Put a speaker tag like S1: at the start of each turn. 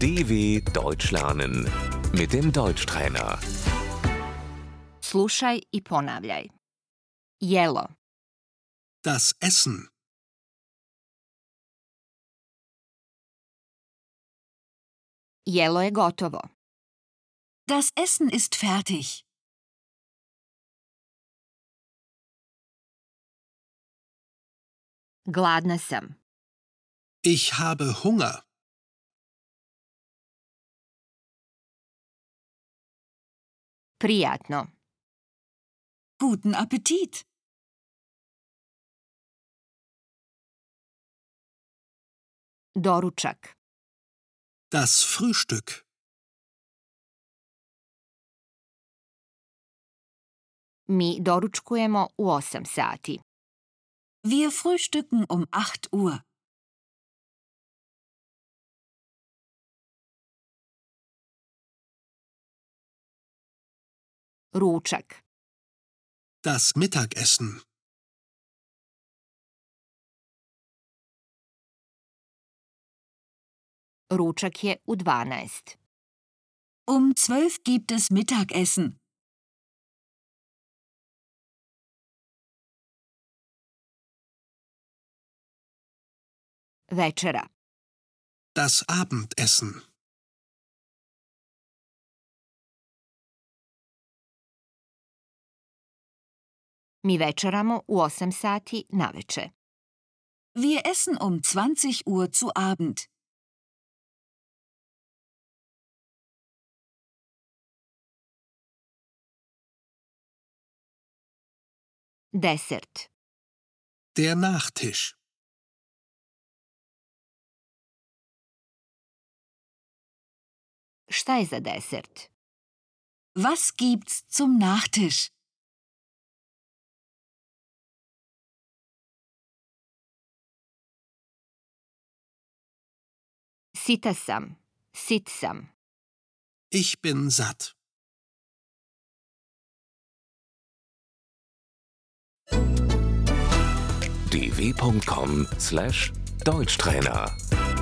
S1: DW Deutsch lernen mit dem Deutschtrainer.
S2: Slušaj i ponavljaj. Jelo,
S3: Das Essen.
S2: jelo je gotovo.
S4: Das Essen ist fertig.
S2: Gladna sam.
S3: Ich habe Hunger.
S2: Prijatno.
S4: Guten Appetit.
S2: Doručak.
S3: Das Frühstück.
S2: Mi doručkujemo u 8 sati.
S4: Wir frühstücken um 8 Uhr.
S2: Ručak.
S3: Das Mittagessen.
S2: Ručak je u 12.
S4: Um 12 gibt es Mittagessen.
S2: Večera.
S3: Das Abendessen.
S2: Mi večeramo u 8 sati naveče.
S4: Wir essen um 20 Uhr zu Abend.
S2: Desert.
S3: Der Nachtisch.
S2: Šta je za desert?
S4: Was gibt's zum Nachtisch?
S2: Sita sam. Sit sam.
S3: Ich bin satt.
S1: dw.com/deutschtrainer